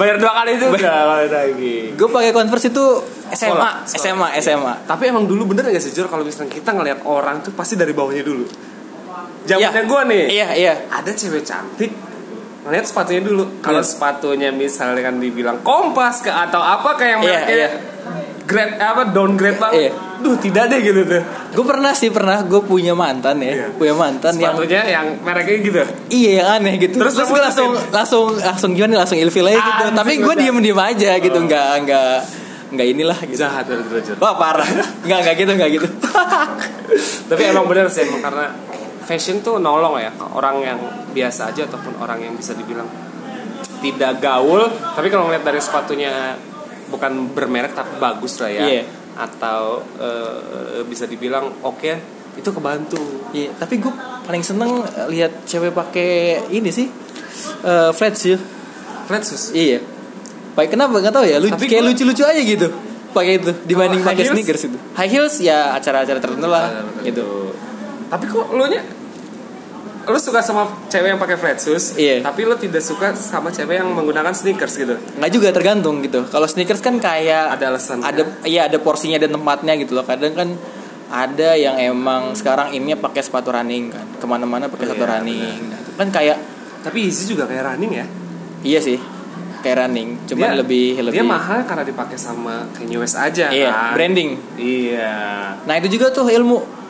S1: bayar dua kali itu udah kalau daging
S2: Gue pakai Converse itu SMA,
S1: Sekolah, Iya.
S2: SMA,
S1: sekolah.
S2: SMA.
S1: tapi emang dulu bener gak sih Jor kalau misalkan kita ngelihat orang tuh pasti dari bawahnya dulu zamannya
S2: Iya.
S1: gue nih
S2: Iya, iya.
S1: ada cewek cantik ngeliat sepatunya dulu kalau sepatunya misalnya kan dibilang kompas ke atau apa kayak yang
S2: Iya,
S1: mereknya
S2: iya.
S1: grade apa downgrade banget
S2: Iya.
S1: duh tidak deh gitu tuh
S2: Gue pernah sih pernah gue punya mantan
S1: Iya.
S2: ya, punya mantan yang
S1: sepatunya yang, mereknya gitu
S2: iya yang aneh gitu.
S1: Terus
S2: Terus,
S1: kamu
S2: gue langsung
S1: nyatain?
S2: langsung langsung gimana nih, langsung ilfil aja gitu.
S1: Ah,
S2: Tapi
S1: anjing,
S2: gue
S1: udah.
S2: diem diem aja gitu, nggak nggak nggak inilah gitu.
S1: Oh. jahat dari derajat
S2: Wah parah, nggak nggak gitu nggak gitu.
S1: Tapi emang bener sih emang karena fashion tuh nolong ya ke orang yang biasa aja ataupun orang yang bisa dibilang tidak gaul. Tapi kalau ngeliat dari sepatunya bukan bermerek tapi bagus lah ya.
S2: Iya.
S1: Atau eh, bisa dibilang oke itu kebantu.
S2: Iya, tapi gue paling seneng lihat cewek pakai ini sih eh flats ya.
S1: Flat shoes.
S2: Iya. Pakai kenapa nggak tahu ya? Lucu,
S1: Tapi
S2: kayak
S1: gua-
S2: lucu-lucu aja gitu. Pakai itu dibanding
S1: Kalau high
S2: pakai
S1: heels?
S2: sneakers itu. High heels ya acara-acara tertentu lah gitu.
S1: Tapi kok lu nya lu suka sama cewek yang pakai flat shoes,
S2: Iya.
S1: tapi lu tidak suka sama cewek yang menggunakan sneakers gitu.
S2: nggak juga tergantung gitu kalau sneakers kan kayak
S1: Ada alasan. kan?
S2: ada iya ada porsinya dan tempatnya gitu loh kadang kan ada yang emang sekarang ini pakai sepatu running kan kemana-mana pakai
S1: Iya,
S2: sepatu running Nah, itu kan kayak
S1: Tapi Yeezy juga kayak running ya.
S2: iya sih kayak running cuman lebih lebih
S1: dia mahal karena dipakai sama Kanye West aja
S2: iya
S1: kan.
S2: branding
S1: Iya.
S2: nah itu juga tuh ilmu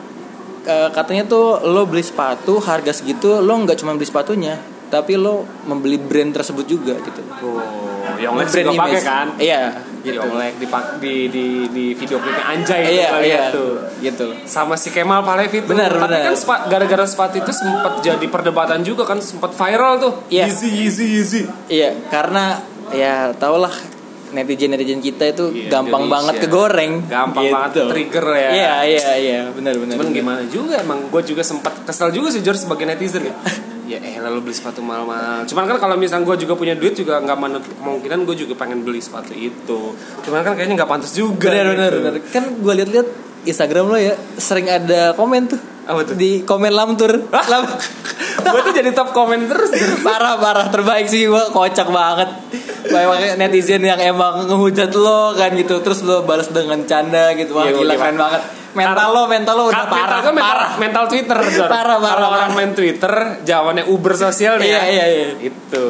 S2: E, katanya tuh lo beli sepatu harga segitu lo nggak cuma beli sepatunya tapi lo membeli brand tersebut juga gitu
S1: Oh, Yonglek
S2: Brand
S1: juga pakai
S2: image.
S1: kan?
S2: iya gitu
S1: Yonglek dipak di di di video klipnya Anjay itu
S2: iya
S1: kali
S2: iya
S1: itu.
S2: gitu loh
S1: Sama si Kemal Palevi itu.
S2: Benar,
S1: Tapi
S2: benar.
S1: kan sepa- gara-gara sepatu itu sempat jadi perdebatan juga kan, sempat viral tuh.
S2: Iya.
S1: Yeezy Yeezy Yeezy.
S2: Iya, karena ya tahulah netizen netizen kita itu
S1: Iya,
S2: gampang
S1: Indonesia.
S2: banget kegoreng.
S1: Gampang
S2: Gitu.
S1: banget trigger ya.
S2: Iya, iya, iya, benar benar.
S1: Cuman gitu.
S2: benar.
S1: gimana juga emang gue juga sempat kesel juga sih Jor sebagai netizen ya. ya eh lalu beli sepatu mahal-mahal. Cuman kan kalau misalnya gue juga punya duit juga nggak menutup kemungkinan gue juga pengen beli sepatu itu. Cuman kan kayaknya nggak pantas juga. gitu.
S2: Benar, benar, benar. Kan gue lihat-lihat Instagram lo ya sering ada komen tuh.
S1: Apa tuh?
S2: Di komen lamtur. Lam
S1: gue tuh jadi top komen terus. Jor.
S2: parah parah terbaik sih gua kocak banget banyak netizen yang emang ngehujat lo kan gitu terus lo balas dengan canda gitu wah
S1: Iya, gua
S2: gila
S1: gimana?
S2: keren banget mental lo mental lo udah
S1: Kan
S2: parah
S1: mental, gua mental,
S2: parah
S1: mental Twitter Jor.
S2: Parah, parah,
S1: Kalau orang
S2: parah.
S1: main Twitter jawabannya uber sosial nih
S2: Iya,
S1: ya.
S2: iya, iya.
S1: Itu.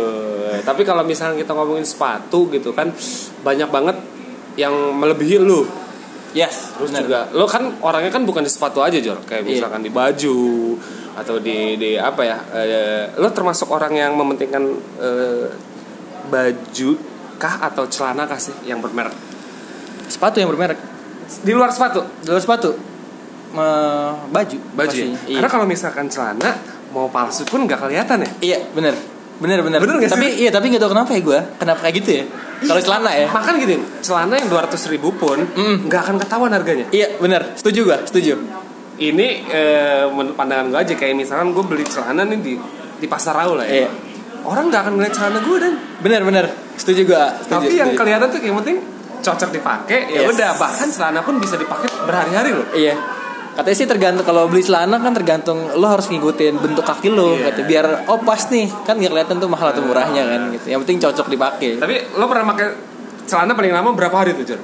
S1: Tapi kalau misalnya kita ngomongin sepatu gitu kan banyak banget yang melebihi lu.
S2: yes
S1: Terus
S2: benar.
S1: juga lo kan orangnya kan bukan di sepatu aja Jor, kayak
S2: Iya.
S1: misalkan di baju atau di di apa ya? eh, lo termasuk orang yang mementingkan eh, baju kah atau celana kah sih yang bermerek?
S2: sepatu yang bermerek
S1: Di luar sepatu,
S2: Jalur sepatu Me- baju
S1: baju ya.
S2: pastinya. iya.
S1: Karena kalau misalkan celana mau palsu pun nggak kelihatan ya.
S2: iya bener bener bener,
S1: Bener nggak sih? Iya.
S2: tapi iya tapi nggak tahu kenapa ya gue kenapa kayak gitu ya kalau celana ya
S1: Makan gitu, celana yang 200 ribu pun
S2: Mm.
S1: nggak akan ketahuan harganya.
S2: iya bener setuju gue setuju
S1: ini eh, menurut pandangan gue aja kayak misalkan gue beli celana nih di di pasar Raul lah ya
S2: Iya.
S1: orang nggak akan ngeliat celana gue dan
S2: bener bener setuju gue setuju,
S1: tapi yang
S2: setuju.
S1: kelihatan tuh yang penting cocok dipakai ya
S2: Iya, Yes.
S1: udah bahkan celana pun bisa dipakai berhari-hari loh
S2: iya katanya sih tergantung kalau beli celana kan tergantung lo harus ngikutin bentuk kaki lo
S1: Iya.
S2: katanya. biar oh pas nih kan nggak kelihatan tuh mahal atau murahnya kan gitu yang penting cocok dipakai
S1: tapi lo pernah pakai celana paling lama berapa hari tuh Jor?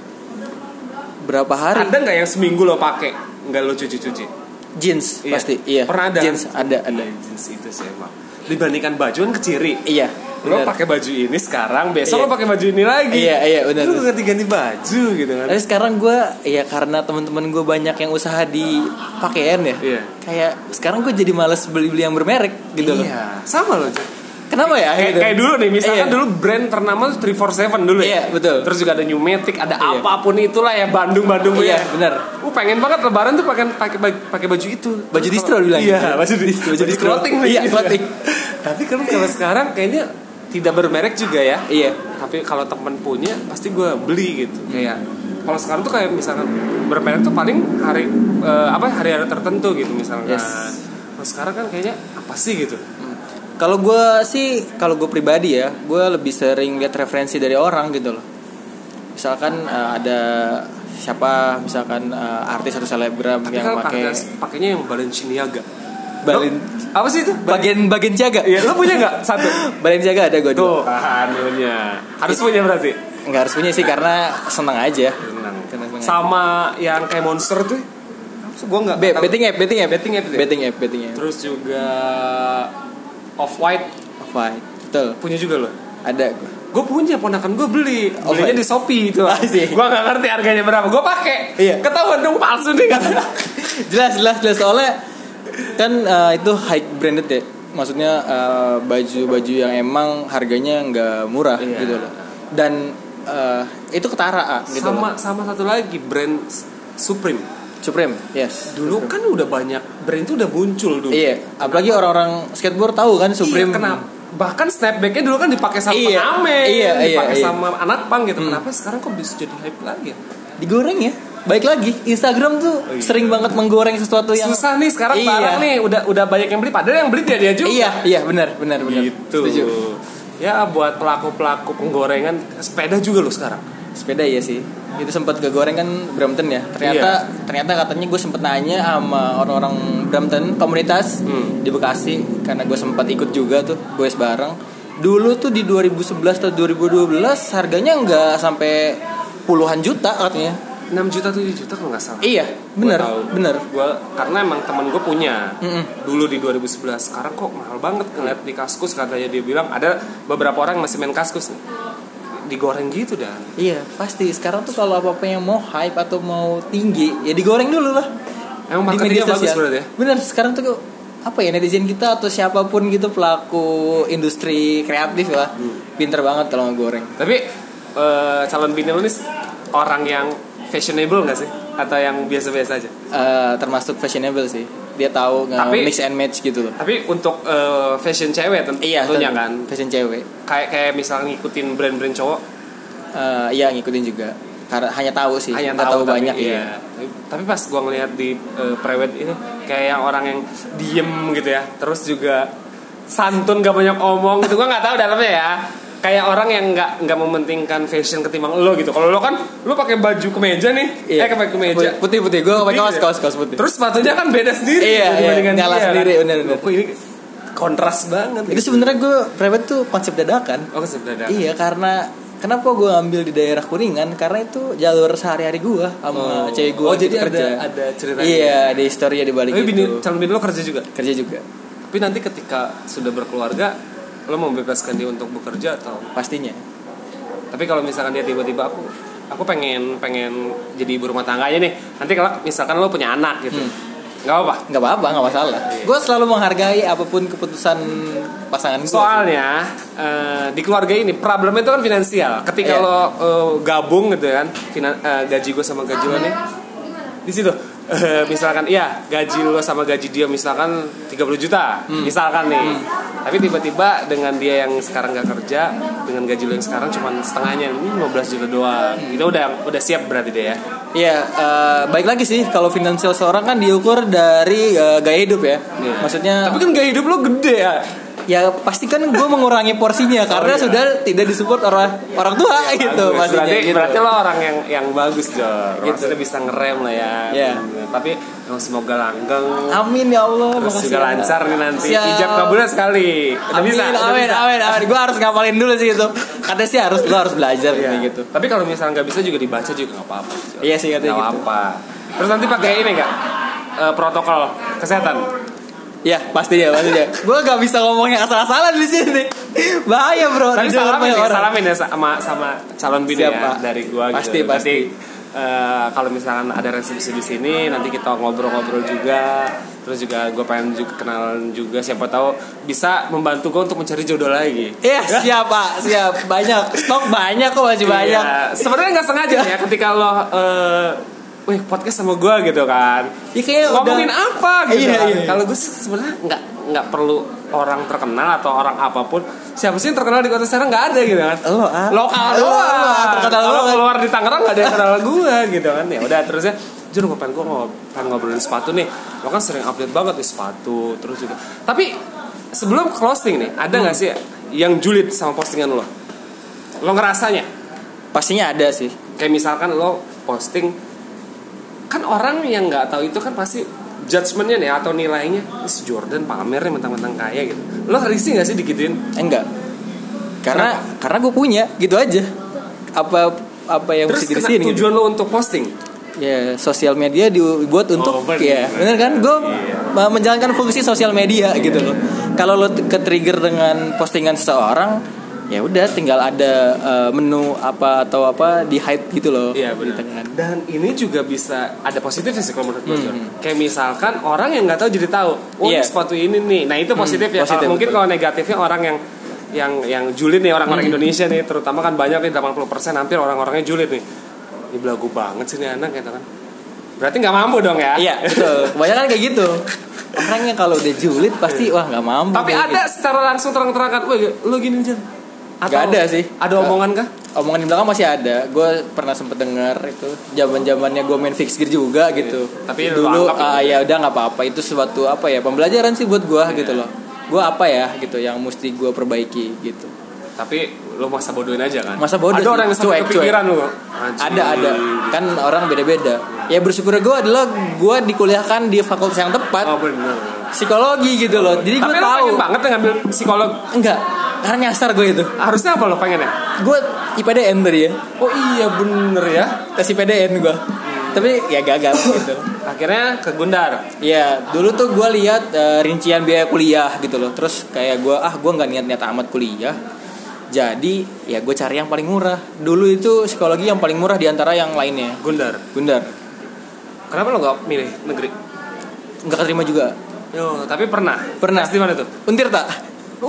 S2: berapa hari
S1: ada nggak yang seminggu lo pakai nggak lo cuci-cuci
S2: jeans
S1: Iya.
S2: pasti iya
S1: pernah ada
S2: jeans ada ada
S1: Iya, jeans itu sih emang dibandingkan baju kan keciri
S2: iya
S1: lo
S2: bener.
S1: pakai baju ini sekarang besok
S2: Iya.
S1: lo pakai baju ini lagi
S2: Iya, iya, benar, Eh,
S1: lo ganti-ganti baju gitu kan
S2: Tapi sekarang gue ya karena teman-teman gue banyak yang usaha di pakaian ya.
S1: Iya.
S2: Kayak sekarang gue jadi males beli-beli yang bermerek gitu loh.
S1: iya sama lo Jor.
S2: Kenapa ya?
S1: Kayak,
S2: gitu?
S1: kayak dulu nih, misalkan
S2: Iya.
S1: dulu brand ternama tuh 347 dulu ya.
S2: Iya, betul.
S1: Terus juga ada Pneumatic, ada
S2: Iya.
S1: apapun itulah ya Bandung-Bandung
S2: Iya,
S1: ya.
S2: bener.
S1: Uh, pengen banget lebaran tuh pakai pakai baju- pakai baju itu.
S2: Baju
S1: Terus
S2: distro
S1: kalau-
S2: bilang.
S1: Iya, baju distro. Baju,
S2: Baju distro.
S1: clothing nih.
S2: Iya, clothing.
S1: Tapi kan kalau sekarang kayaknya tidak bermerek juga ya.
S2: Iya.
S1: Tapi kalau temen punya pasti gue beli gitu. Kayak kalau sekarang tuh kayak misalkan bermerek tuh paling hari eh, apa hari-hari tertentu gitu misalkan.
S2: Yes.
S1: Kalau sekarang kan kayaknya apa sih gitu?
S2: Kalau gue sih, kalau gue pribadi ya, gue lebih sering lihat referensi dari orang gitu loh. Misalkan eh, ada siapa, misalkan eh, artis atau selebgram
S1: Tapi
S2: yang
S1: kalau
S2: pakai
S1: Adidas kan pakainya yang Balenciaga.
S2: Balen-
S1: Lo- apa sih itu?
S2: bagian bagian jaga.
S1: Iya, lo punya nggak satu?
S2: Balenciaga ada gue dua.
S1: Tuh, tahan lo nya. Harus punya berarti.
S2: Nggak harus punya sih karena seneng aja.
S1: Tenang.
S2: Tenang, tenang.
S1: Sama yang kayak monster tuh. Gue nggak.
S2: Be-
S1: tahu.
S2: betting app, betting app,
S1: Betting app itu ya?
S2: betting app, betting app.
S1: Terus juga off white
S2: Fine. Betul.
S1: punya juga lo.
S2: Ada gue.
S1: Gue punya ponakan gue beli
S2: Off-White.
S1: Belinya di Shopee itu
S2: Ah, sih.
S1: Gue gak ngerti harganya berapa Gue pakai
S2: Iya.
S1: Ketahuan dong palsu deh kan
S2: jelas, jelas, jelas soalnya kan eh, itu high branded ya. Maksudnya eh, baju-baju yang emang harganya nggak murah
S1: Iya.
S2: gitu loh. Dan eh, itu ketara ah, gitu
S1: Sama
S2: loh.
S1: sama satu lagi brand Supreme
S2: Supreme, yes.
S1: Dulu kan udah banyak brand itu udah muncul dulu.
S2: Iya, apalagi orang-orang skateboard tahu kan Supreme.
S1: Iya, kenapa? Bahkan snapbacknya dulu kan dipakai sama
S2: Iya,
S1: Ame,
S2: iya, iya,
S1: dipakai
S2: iya. Hmm.
S1: sama anak pang gitu. Kenapa sekarang kok bisa jadi hype lagi? ya?
S2: Digoreng ya. Baik lagi, Instagram tuh sering banget menggoreng sesuatu
S1: Oh
S2: yang
S1: iya. Susah nih sekarang
S2: Iya.
S1: barang nih udah udah banyak yang beli. Padahal yang beli dia dia juga.
S2: Iya, iya benar, benar, benar.
S1: Gitu.
S2: Setuju.
S1: Ya buat pelaku pelaku penggorengan sepeda juga loh sekarang.
S2: Sepeda ya sih. Itu sempat kegoreng kan Brampton ya. Ternyata
S1: Iya.
S2: ternyata katanya gue sempet nanya sama orang-orang Brampton komunitas
S1: Hmm.
S2: di Bekasi karena gue sempat ikut juga tuh goes bareng. Dulu tuh di 2011 atau 2012 harganya nggak sampai puluhan juta katanya.
S1: 6 juta 7 juta kalau nggak salah.
S2: Iya, benar,
S1: Gua tahu.
S2: benar.
S1: Gua karena emang temen gue punya
S2: Mm-mm.
S1: dulu di 2011. Sekarang kok mahal banget ngeliat di kaskus katanya dia bilang ada beberapa orang yang masih main kaskus nih. Digoreng gitu dan
S2: Iya, pasti. Sekarang tuh kalau apa-apa yang mau hype atau mau tinggi, ya digoreng dulu lah.
S1: Emang marketing dia bagus berarti ya?
S2: Bener, sekarang tuh apa ya netizen kita atau siapapun gitu pelaku industri kreatif lah.
S1: Hmm.
S2: Pinter banget kalau ngegoreng.
S1: Tapi eh, calon bini lu nih orang yang fashionable nggak sih? Atau yang biasa-biasa aja?
S2: Eh, termasuk fashionable sih. Dia tahu nge
S1: Tapi-
S2: mix and match gitu loh.
S1: Tapi untuk eh, fashion cewek tentu- tentunya
S2: Iya, tentu.
S1: kan.
S2: Fashion cewek.
S1: Kayak kayak misalnya ngikutin brand-brand cowok
S2: Eh, iya ngikutin juga. Karena hanya tahu sih.
S1: hanya
S2: nggak
S1: tahu, tapi-
S2: banyak
S1: iya.
S2: ya.
S1: Tapi pas gua ngelihat di eh, prewed itu kayak yang orang yang diem gitu ya, terus juga santun gak banyak omong gitu. Gua nggak tahu dalamnya ya. Kayak orang yang nggak nggak mementingkan fashion ketimbang lo gitu. Kalau lo kan lo pakai baju kemeja nih,
S2: Iya.
S1: eh pakai kemeja.
S2: Putih putih. Gue pakai
S1: Putih
S2: kaos
S1: ya?
S2: kaos kaos putih.
S1: Terus sepatunya kan beda sendiri
S2: Iya,
S1: gitu dibandingkan
S2: iya, nyala
S1: dia, kan.
S2: sendiri, benar-benar.
S1: Kok ini kontras banget. gitu.
S2: itu sebenarnya gue private tuh konsep dadakan.
S1: Oh, sebenarnya.
S2: Iya karena kenapa gue ngambil di daerah Kuningan karena itu jalur sehari-hari gue
S1: Oh.
S2: sama cewek gue
S1: Oh, jadi ada- ada ceritanya.
S2: Iya ada historia di balik
S1: Tapi
S2: itu.
S1: bini, calon bini lo kerja juga.
S2: Kerja juga
S1: Tapi nanti ketika sudah berkeluarga, lo mau bebaskan dia untuk bekerja atau?
S2: pastinya.
S1: Tapi kalau misalkan dia tiba-tiba aku aku pengen pengen jadi ibu rumah tangga aja nih. Nanti kalau misalkan lo punya anak gitu.
S2: Hmm.
S1: nggak apa-apa.
S2: Nggak apa-apa nggak masalah.
S1: Iya.
S2: Gue selalu menghargai apapun keputusan pasangan gue.
S1: Soalnya eh, di keluarga ini problemnya itu kan finansial. Ketika
S2: Iya.
S1: lo eh, gabung gitu kan, finan- eh, gaji gue sama gaji lo nih di situ. Eh, misalkan iya, gaji lo sama gaji dia misalkan 30 juta.
S2: Hmm.
S1: Misalkan nih. Tapi tiba-tiba dengan dia yang sekarang gak kerja, dengan gaji lo yang sekarang cuman setengahnya, ini 15 juta doang. Itu udah udah siap berarti dia ya.
S2: Iya, eh, baik lagi sih kalau finansial seorang kan diukur dari eh, gaya hidup ya.
S1: Iya.
S2: Maksudnya
S1: Tapi kan gaya hidup lo gede ya.
S2: ya pasti kan gue mengurangi porsinya karena
S1: iya.
S2: sudah tidak disupport orang orang tua gitu
S1: Bagus.
S2: pastinya.
S1: berarti,
S2: gitu.
S1: berarti lo orang yang yang bagus Jor Maksudnya bisa ngerem lah ya
S2: Iya.
S1: Tapi oh, semoga langgeng
S2: Amin ya Allah.
S1: Terus
S2: makasih
S1: juga
S2: ya.
S1: lancar nih nanti
S2: Siap.
S1: Ijab kabulnya sekali Udah
S2: Amin,
S1: bisa, udah
S2: amin,
S1: bisa.
S2: amin, amin. Gue harus ngapalin dulu sih itu. Katanya sih harus lo harus belajar
S1: Iya.
S2: kayak gitu.
S1: Tapi kalau misalnya nggak bisa juga dibaca juga nggak apa-apa Jor.
S2: Iya sih, katanya
S1: Nggak
S2: gitu.
S1: apa-apa Terus nanti pakai ini nggak? Eh, protokol kesehatan
S2: Ya pasti ya, pasti ya. Gue gak bisa ngomongnya asal-asalan di sini. Bahaya bro.
S1: Tapi
S2: didengar
S1: salamin ya,
S2: banyak Kan orang.
S1: salamin ya sama sama calon bini
S2: Siap,
S1: ya
S2: Pak.
S1: dari gua
S2: Pasti,
S1: gitu. Nanti,
S2: pasti.
S1: eh, kalau misalkan ada resepsi di sini nanti kita ngobrol-ngobrol juga. Terus juga gue pengen juga kenalan juga siapa tahu bisa membantu gue untuk mencari jodoh lagi.
S2: Iya siap pak, siap banyak. Stok banyak kok masih banyak.
S1: Iya. Sebenarnya nggak sengaja ya ketika lo eh Wih podcast sama gue gitu kan
S2: Ya, kayaknya udah-
S1: Ngomongin apa gitu
S2: Iya,
S1: kan.
S2: iya, iya.
S1: Kalau gue sih sebenarnya nggak nggak perlu orang terkenal atau orang apapun Siapa sih yang terkenal di kota Serang nggak ada gitu kan
S2: Lo ah.
S1: lokal
S2: Lo, kan. ah,
S1: doang
S2: terkenal
S1: kalau
S2: doang.
S1: keluar di Tangerang gak ada yang kenal gue gitu kan ya udah terusnya jujur gue pengen gue mau pengen ngobrolin sepatu nih lo kan sering update banget nih sepatu terus juga tapi sebelum closing nih ada nggak sih yang julid sama postingan lo lo ngerasanya
S2: Pastinya ada sih. Eh,
S1: kayak misalkan lo posting kan orang yang nggak tahu itu kan pasti judgementnya nih atau nilainya "Ih, si Jordan pamernya mentang-mentang kaya gitu lo risih nggak sih digituin
S2: Eh, Enggak. Karena karena gue punya gitu aja. Apa apa yang
S1: terus
S2: mesti di
S1: kena-
S2: sini? gitu.
S1: tujuan lo untuk posting
S2: Ya, sosial media dibuat untuk
S1: bener.
S2: ya, bener kan? Gue menjalankan fungsi sosial media gitu loh. Kalau lo ke trigger dengan postingan seseorang, ya udah tinggal ada eh, menu apa atau apa di hide gitu loh
S1: Iya
S2: di
S1: benar.
S2: tengah.
S1: Dan ini juga bisa ada positifnya sih kalau menurut gue. Jor. Kayak misalkan orang yang nggak tahu jadi tahu, oh
S2: Hmm. Iya. Hmm,
S1: ini sepatu ini nih. Nah itu positif ya.
S2: positif,
S1: Kalau mungkin
S2: betul. Hmm.
S1: kalau negatifnya orang yang yang yang julid nih orang-orang Indonesia nih, terutama kan banyak nih 80% hampir orang-orangnya julid nih. Ini belagu banget sih nih anak gitu kan. Berarti nggak mampu dong ya?
S2: Iya, betul. Kebanyakan kayak gitu. Orangnya kalau udah julid pasti wah nggak mampu.
S1: Tapi
S2: kayak
S1: ada secara langsung terang-terangan, "Weh, lu gini Jan." Atau
S2: Nggak ada sih.
S1: Ada
S2: Nggak.
S1: omongan kah?
S2: gitu. Omongan di belakang masih ada. Gue pernah sempet dengar itu zaman-zamannya gue main fixed gear juga gitu.
S1: Iya. Tapi lu
S2: dulu
S1: anggap gitu
S2: ah, ya udah nggak apa-apa itu suatu apa ya pembelajaran sih buat gue gitu
S1: Iya.
S2: loh. Gue apa ya gitu yang mesti gue perbaiki gitu.
S1: Tapi lu masa bodohin aja kan?
S2: Masa bodoh
S1: Ada
S2: sih.
S1: orang yang sampai
S2: Cuek, cuek.
S1: kepikiran lu.
S2: Ada
S1: Hmm.
S2: ada kan orang beda-beda. Ya bersyukur gue adalah gue dikuliahkan di fakultas yang
S1: Oh
S2: tepat
S1: benar.
S2: psikologi gitu loh. Jadi
S1: Tapi
S2: gue
S1: lu
S2: tahu
S1: pengen banget ya ngambil psikolog.
S2: enggak karena nyasar gue itu.
S1: Harusnya apa lo pengen ya?
S2: Gue IPDN tadi ya.
S1: Oh iya bener ya. Hmm.
S2: Tes IPDN gue. Tapi ya gagal gitu.
S1: Akhirnya ke Gundar.
S2: Ya, dulu tuh gue lihat eh, rincian biaya kuliah gitu loh. Terus kayak gue ah gue nggak niat-niat amat kuliah. Jadi ya gue cari yang paling murah. Dulu itu psikologi yang paling murah di antara yang lainnya.
S1: Gundar.
S2: Gundar
S1: Kenapa lo gak milih negeri?
S2: nggak keterima juga.
S1: Yo, tapi pernah.
S2: Pernah.
S1: Tes di mana tuh?
S2: Untirta.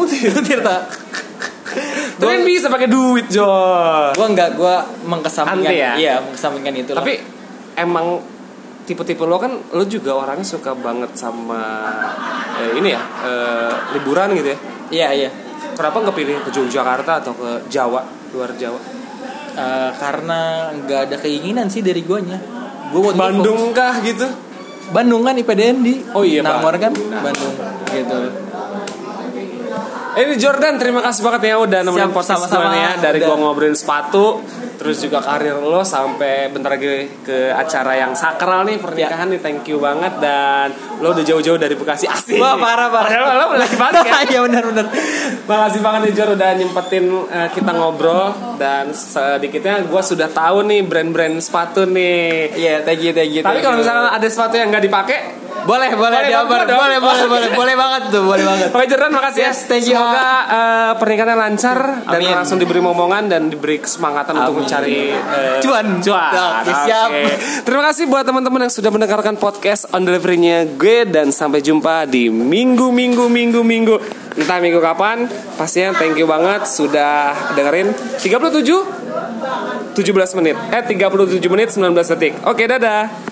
S2: Untirta.
S1: Tapi kan bisa pakai duit, Jo.
S2: Gue nggak gue mengkesampingkan.
S1: Anti ya?
S2: Iya mengkesampingkan itu. lah.
S1: Tapi emang tipe-tipe lo kan lo juga orangnya suka banget sama eh, ini ya, eh, liburan gitu ya.
S2: iya iya.
S1: Kenapa nggak pilih ke Yogyakarta atau ke Jawa, luar Jawa?
S2: Eh, karena nggak ada keinginan sih dari guanya. Gue
S1: Bandung kah gitu?
S2: Bandung kan IPDN di
S1: Oh iya, Pak.
S2: Namor kan Bandung gitu.
S1: Eh, ini Jordan, terima kasih banget ya udah nemenin
S2: Siap,
S1: podcast gue
S2: sama-sama.
S1: nih ya dari
S2: Udah.
S1: gua ngobrolin sepatu terus juga karir lo sampai bentar lagi ke acara yang sakral nih pernikahan nih thank you banget dan lo udah jauh-jauh dari Bekasi asli.
S2: Wah, parah, parah.
S1: Iya. Lo, lo lagi balik ya.
S2: Iya benar-benar.
S1: Makasih banget nih Jor udah nyempetin eh, kita ngobrol dan sedikitnya gua sudah tahu nih brand-brand sepatu nih.
S2: Iya, thank you, thank you.
S1: Tapi
S2: thank
S1: kalau
S2: you.
S1: misalnya ada sepatu yang nggak dipakai,
S2: boleh, boleh,
S1: Boleh
S2: diabar,
S1: banget dong.
S2: boleh, boleh, boleh, boleh banget tuh, boleh banget.
S1: Oke Jordan makasih ya.
S2: Yes, thank you.
S1: Semoga eh, pernikahannya lancar dan
S2: Amin.
S1: langsung diberi momongan dan diberi kesemangatan untuk
S2: Amin.
S1: mencari eh,
S2: Cuan. Nah,
S1: Cuan.
S2: Oke,
S1: Oke.
S2: siap.
S1: Terima kasih buat teman-teman yang sudah mendengarkan podcast on delivery-nya gue dan sampai jumpa di minggu minggu minggu minggu entah minggu kapan pastinya thank you banget sudah dengerin 37 17 menit eh 37 menit 19 detik. Oke, dadah.